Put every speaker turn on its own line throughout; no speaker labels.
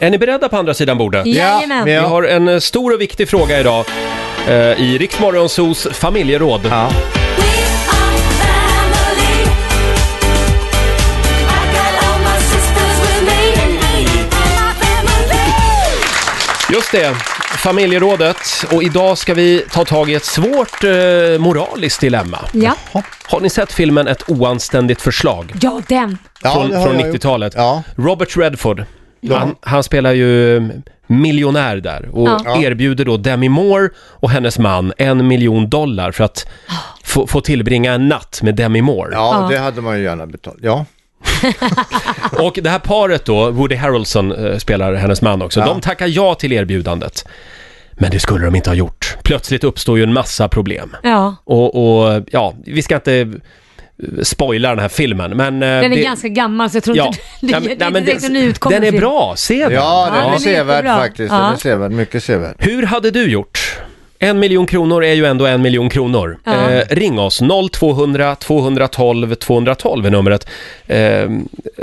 Är ni beredda på andra sidan bordet?
Jajamän.
Vi
Ja.
har en eh, stor och viktig fråga idag eh, i Riksmorgonsos familjeråd.
Ja.
Just det, familjerådet. Och idag ska vi ta tag i ett svårt eh, moraliskt dilemma.
Ja.
Har ni sett filmen Ett oanständigt förslag?
ja, den.
Ja,
Från,
det har
från
jag gjort.
90-talet.
Ja.
Robert Redford,
Ja.
han, han spelar ju eh, miljonär där och
Ja.
erbjuder då Demi Moore och hennes man en miljon dollar för att få, få tillbringa en natt med Demi Moore.
Ah. Ja,
Ja.
det hade man ju gärna betalt. Ja,
Och det här paret då, Woody Harrelson eh, spelar hennes man också,
Ja.
de tackar ja till erbjudandet. Men det skulle de inte ha gjort. Plötsligt uppstår ju en massa problem.
Ja.
Och, och ja, vi ska inte eh, spoila den här filmen, men... eh,
Den är ganska gammal så jag tror inte det, det, det är
men
inte direkt en nyutkommen
Den är
film.
bra, se den!
ja
Ja,
den
den
är
är
sevärd
jättebra.
faktiskt.
Ja.
Den är sevärd, mycket sevärd.
Hur hade du gjort? En miljon kronor är ju ändå en miljon kronor.
Ja.
Eh, ring oss, 0200 212 212 är numret. Eh,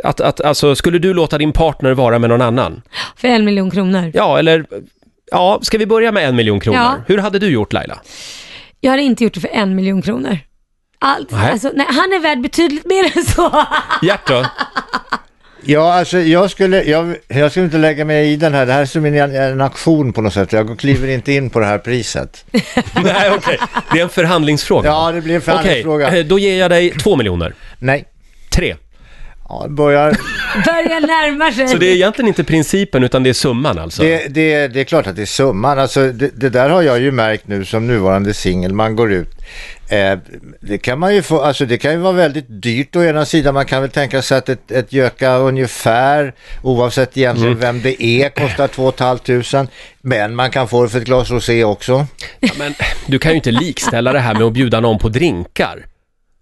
att, att, alltså, skulle du låta din partner vara med någon annan?
För en miljon kronor.
Ja, eller... Ja, ska vi börja med en miljon kronor?
Ja.
Hur hade du gjort Laila?
Jag hade inte gjort det för en miljon kronor. Allt,
Nej.
alltså, nej, han är värd betydligt mer än så.
Gert då?
Ja, alltså jag skulle, jag, jag skulle inte lägga mig i den här. Det här är som en, en auktion på något sätt. Jag kliver inte in på det här priset.
Nej, okej. Det är en förhandlingsfråga.
Ja, det blir en
Okej,
förhandlingsfråga.
eh, då ger jag dig två miljoner.
Nej.
Tre.
Ja, det börjar...
Börjar närma sig.
Så det är egentligen inte principen, utan det är summan alltså?
Det, det, det är klart att det är summan. Alltså, det, det där har jag ju märkt nu som nuvarande singel. Man går ut. Eh, det, kan man ju få, alltså, det kan ju vara väldigt dyrt å ena sidan. Man kan väl tänka sig att ett, ett göka ungefär, oavsett egentligen
Mm.
vem det är, kostar 2 500. Men man kan få det för ett glas rosé också.
Ja, men du kan ju inte likställa det här med att bjuda någon på drinkar.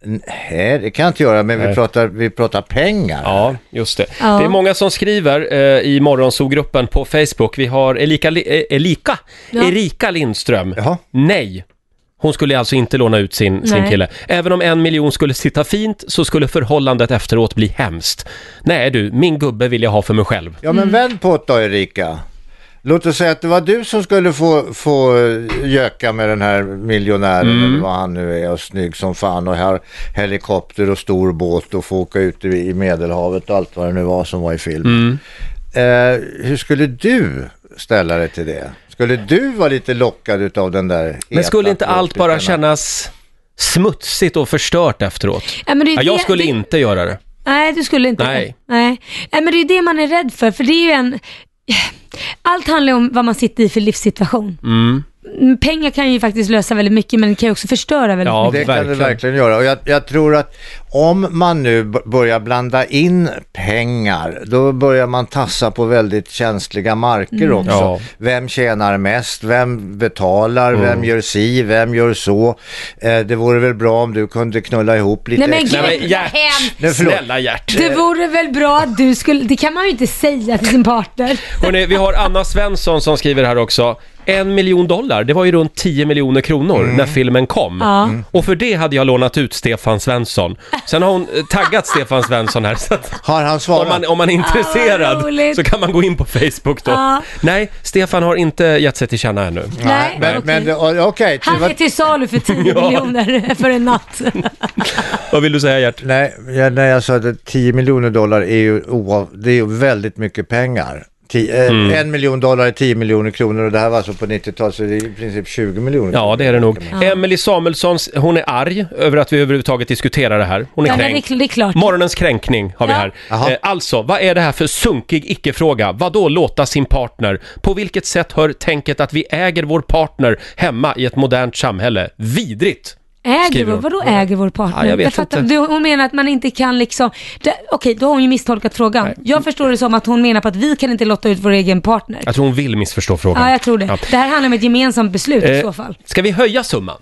Nej, det kan jag inte göra, men vi
Nej.
pratar, vi pratar pengar.
Ja, just det.
Ja.
Det är många som skriver eh, i morgonsogruppen på Facebook. Vi har Elika, Li- eh, Elika,
Ja.
Erika Lindström.
Jaha.
Nej. Hon skulle alltså inte låna ut sin, sin
Nej.
kille. Även om en miljon skulle sitta fint så skulle förhållandet efteråt bli hemskt. Nej du, min gubbe vill jag ha för mig själv.
Ja, men vänd på det då, Erika. Låt oss säga att det var du som skulle få, få eh, göka med den här miljonären,
Mm.
eller vad han nu är, och snygg som fan och har helikopter och stor båt och få åka ut i i Medelhavet och allt vad det nu var som var i
Mm.
filmen. Eh, hur skulle du ställa dig till det? Skulle du vara lite lockad utav den där heta
Men skulle inte allt bara
plåtbitarna?
kännas smutsigt och förstört efteråt?
Ja, men det är
Ja, jag
det-
skulle
det-
inte göra det.
Nej, du skulle inte
Nej.
det. Nej. Nej, men det är ju det man är rädd för, för det är ju en... Allt handlar ju om vad man sitter i för livssituation. Mm, Pengar kan ju faktiskt lösa väldigt mycket, men det kan ju också förstöra väldigt
Ja,
mycket.
Det kan det
verkligen.
verkligen göra. Och jag, jag tror att om man nu b- börjar blanda in pengar, då börjar man tassa på väldigt känsliga marker också.
Mm. Ja. Mm.
Vem tjänar mest? Vem betalar? Vem gör si? Vem gör så? Eh, det vore väl bra om du kunde knulla ihop lite
Nej men
extra.
gud,
Nej, men Gert.
Nej,
hem.
förlåt.
Snälla Gert.
Det vore väl bra att du skulle... Det kan man ju inte säga till sin partner.
Hörrni, vi har Anna Svensson som skriver här också. En miljon dollar, det var ju runt 10 miljoner kronor när filmen kom.
Ja. Mm.
Och för det hade jag lånat ut Stefan Svensson. Sen har hon eh, taggat Stefan Svensson här. Så att
Har han
om,
svarat?
man, om man är intresserad
Ah, roligt.
så
Ah.
kan man gå in på Facebook då.
Ja.
Nej, Stefan har inte gett sig till känna ännu.
Nej,
men,
okej.
men det- o- okej.
Han
det var-
är till salu för 10 miljoner för en natt.
Vad vill du säga Gert?
Nej, jag, nej, jag sa att 10 miljoner dollar är ju oav, det är ju väldigt mycket pengar. Ti, eh,
Mm.
En miljon dollar är 10 miljoner kronor och det här var alltså på 90-talet så det är i princip 20 miljoner.
Ja, det är det nog.
Ah.
Emily Samuelsson, hon är arg över att vi överhuvudtaget diskuterar det här. Hon är
Ja, men
kränkt.
det är- det är klart.
Morgonens kränkning har vi
Ja.
här.
Jaha.
Eh, alltså, vad är det här för sunkig icke-fråga? Vad då låta sin partner? På vilket sätt hör tänket att vi äger vår partner hemma i ett modernt samhälle? Vidrigt!
Äger
Skriver hon.
vår, vadå äger vår partner?
Ja, jag vet
fattar,
inte.
Du, hon menar att man inte kan liksom... Det- Okej, då har hon ju misstolkat frågan. Jag förstår det som att hon menar på att vi kan inte lotta ut vår egen partner.
Jag tror hon vill missförstå frågan.
Ja, jag tror det. Det här handlar om ett gemensamt beslut i
Eh,
så fall.
Ska vi höja summan?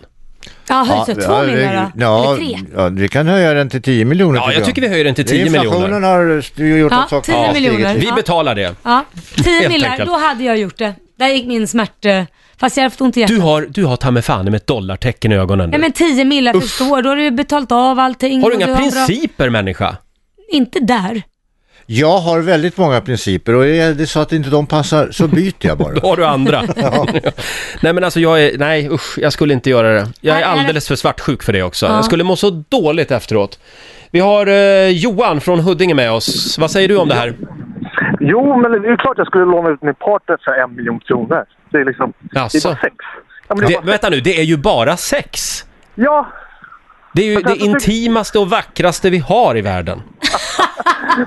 Ja, höjs det? Två miljoner då?
ja,
Eller tre?
ja, vi kan höja den till 10 miljoner.
Ja, jag tycker vi höjer den till 10
Inflationen
miljoner.
har st- gjort
Ja,
att saker
10
har stigit.
miljoner.
Vi
Ja.
betalar det.
Ja, tio
Helt
millar,
enkelt.
då hade jag gjort det. Där gick min smärta... Fast jag har haft ont i hjärtat.
Du har, du har ta mig fan med ett dollartecken i ögonen
Nej
nu.
men 10 millar förstår, då har du ju betalt av allting.
Har du
och
inga
en bra-
principer människa?
Inte där.
Jag har väldigt många principer och är det så att inte de passar så byter jag bara.
Då har du andra. nej men alltså jag är, nej usch, jag skulle inte göra det. Jag är
Nej, nej.
alldeles för svartsjuk för det också.
Ja.
Jag skulle må så dåligt efteråt. Vi har eh, Johan från Huddinge med oss. Vad säger du om det här?
Jo, men det är ju klart jag skulle låna ut min partner för en miljon kronor. Det är liksom...
Jaså?
Det är bara sex. Ja, men det är
Det,
bara sex.
vänta nu, det är ju bara sex!
ja,
Det är ju det
alltså, det-
intimaste och vackraste vi har i världen.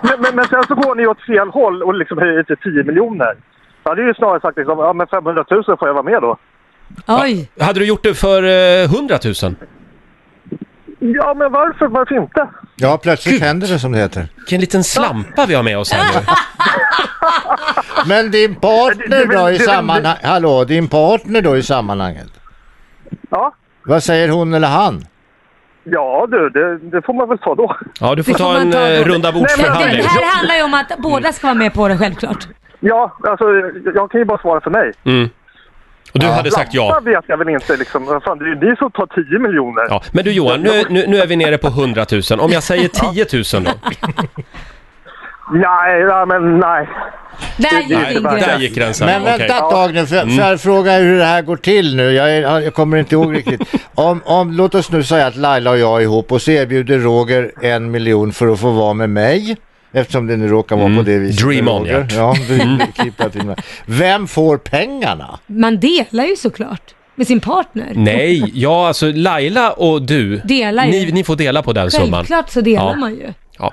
men, men, men sen så går ni åt fel håll och liksom höjer till 10 miljoner. Jag hade ju snarare sagt liksom, ja men 500 000 får jag vara med då.
Oj.
Hade du gjort det för eh, 100 000?
Ja, men varför? Varför inte?
Ja, plötsligt händer det som det heter.
Vilken liten slampa vi har med oss här nu.
Men din
Det- det-
partner då
det-
i
det-
sammanhanget, hallå, din partner då i sammanhanget.
Ja,
Vad säger hon eller han?
ja du, det, det får man väl ta då.
Ja, du får
Det får
ta
man
en
ta
eh,
då.
runda
Nej,
Det
bordsförhandling.
men-
här handlar ju om att
Mm.
båda ska vara med på det självklart.
Ja, alltså jag, jag kan ju bara svara för mig.
Och du hade sagt ja.
Lampa vet jag väl inte liksom. Vad Fan, det är ju ni som tar 10 miljoner.
ja. Men du Johan, nu, nu, nu är vi nere på 100 000. Om jag säger 10 000 då?
Nej, nej, men nej.
Där gick
Nej,
Nej,
inte bara-
där
inte.
gick gränsen.
Men
Okej. Mm.
vänta ett tag nu, för, för jag frågar hur det här går till nu. Jag, är, jag kommer inte ihåg riktigt. Om, om, låt oss nu säga att Laila och jag är ihop och så erbjuder Roger en miljon för att få vara med mig. Eftersom det nu råkar vara på det viset. med
Mm. Dream on,
Roger.
Gert.
ja, dream, keep that in mind. Vem får pengarna?
Man delar ju såklart med sin partner.
Nej, ja alltså Laila och du,
Delar ju.
ni, ni får dela på den summan.
Självklart så delar
Ja.
man ju.
Ja.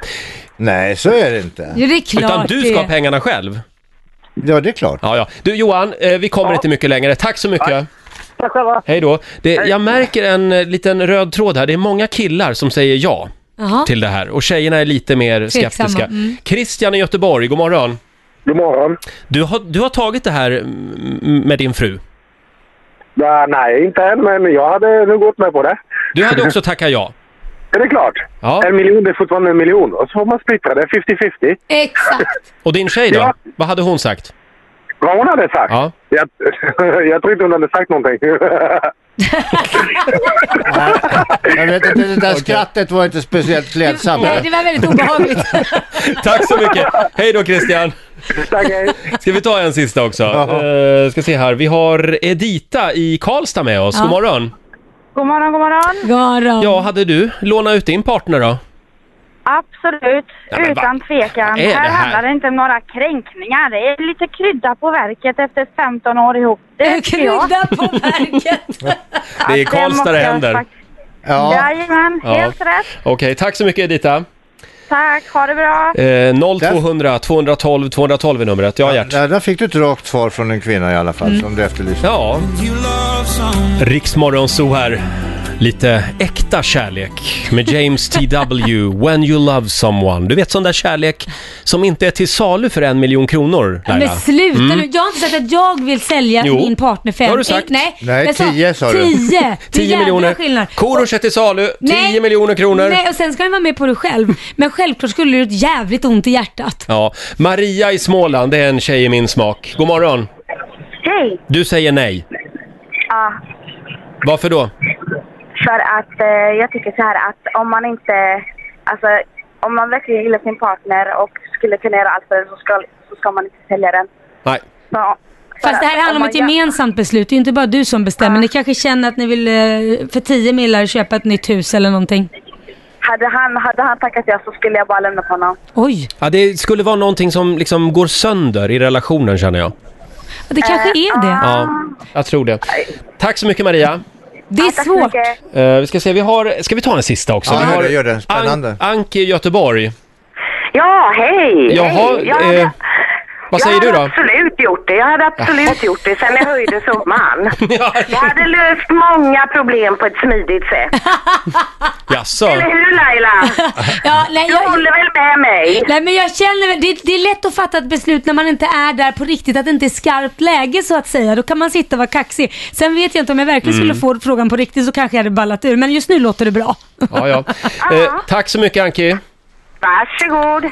Nej, så är det inte.
Jo, det är klart
Utan du ska
det.
ha pengarna själv.
Ja, det är klart.
Ja, ja. Du Johan, eh, vi kommer inte mycket längre. Tack så mycket.
Tack själva.
Hej då. Det, jag märker en eh, liten röd tråd här. Det är många killar som säger ja
Jaha.
till det här och tjejerna är lite mer
Tveksamma.
skeptiska.
Mm.
Christian i Göteborg, god morgon.
God morgon.
Du har, du har tagit det här mm, med din fru.
Ja, nej, inte än, men jag hade nog gått med på det.
Du hade också tackat ja.
Är det klart?
Ja.
En miljon är fortfarande en miljon och så får man splittra det 50-50.
Exakt.
Och din tjej då?
Ja.
Vad hade hon sagt?
Vad hon hade sagt?
Ja.
Jag, jag tror inte hon hade sagt någonting.
Jag vet inte, det där skrattet var inte speciellt klädsamt.
Nej, det var väldigt obehagligt.
Tack så mycket. Hej då Christian.
Tack, hej.
Ska vi ta en sista också? Eh, ska se här. Vi har Edita i Karlstad med oss. God morgon.
God morgon, god morgon.
Garan.
Ja, hade du lånat ut din partner då?
Absolut,
Nej, men
utan tvekan.
vad är det här?
Här, handlar det inte om några kränkningar. Det är lite krydda på verket efter 15 år ihop. Det tycker jag.
Krydda på verket.
Det är i
Att
Karlstad det
måste jag
händer.
faktiskt-
Ja,
Jajamän,
Ja.
helt rätt.
Okej, tack så mycket Edita.
Tack, ha det bra.
Eh, 0200 212 212 är numret. Ja, Gert. Mm.
där, där fick du ett rakt svar från en kvinna i alla fall som du efterlyste.
Ja. Riksmorgon så här. Lite äkta kärlek med James T.W. When You Love Someone. Du vet sån där kärlek som inte är till salu för en miljon kronor, Laila.
Men sluta nu. Jag har inte sagt att jag vill sälja
Mm. Jo.
min partner för
Det har
en-
du sagt.
Nej,
Nej,
jag
tio sa du.
Tio. Det är
10
jävla
miljoner.
skillnad.
Korosh är till salu. 10
Nej.
miljoner kronor.
Nej, och sen ska du vara med på det själv. Men självklart skulle du ett jävligt ont i hjärtat.
Ja, Maria i Småland, det är en tjej i min smak. God morgon.
Hej.
Du säger nej.
Ja,
Varför då?
för att eh, jag tycker så här att om man inte, alltså om man verkligen gillar sin partner och skulle kunna göra allt för den så ska, så ska man inte sälja den.
Nej.
Så, för
Fast det här
att
handlar om
man
ett
gör-
gemensamt beslut. Det är inte bara du som bestämmer. Ni kanske känner att ni vill eh, för 10 millar köpa ett nytt hus eller någonting.
Hade han, hade han tackat ja så skulle jag bara lämna på honom.
Oj,
Ja, det skulle vara någonting som liksom går sönder i relationen känner jag.
det kanske är det.
Ja, jag tror det. Tack så mycket Maria.
Det är
Tack så
svårt.
mycket.
Eh, vi ska se, vi har... Ska vi ta en sista också?
Ja,
vi
gör
har
det, gör det. Spännande.
An- Anki i Göteborg.
Ja, hej!
Jaha,
hej. Jag hade-
eh, Vad säger
jag
du
hade
då?
absolut gjort det. Jag hade absolut gjort det sen jag höjde summan.
Ja.
Jag hade löst många problem på ett smidigt sätt.
Jaså?
Eller hur Laila?
Ja, nej,
Du
jag,
håller väl med mig?
nej men jag känner, väl- det, det är lätt att fatta ett beslut när man inte är där på riktigt, att det inte är skarpt läge så att säga. Då kan man sitta och vara kaxig. Sen vet jag inte om jag verkligen skulle få frågan på riktigt så kanske jag hade ballat ur. Men just nu låter det bra.
Ja, ja. Eh, tack så mycket Anki.
Varsågod.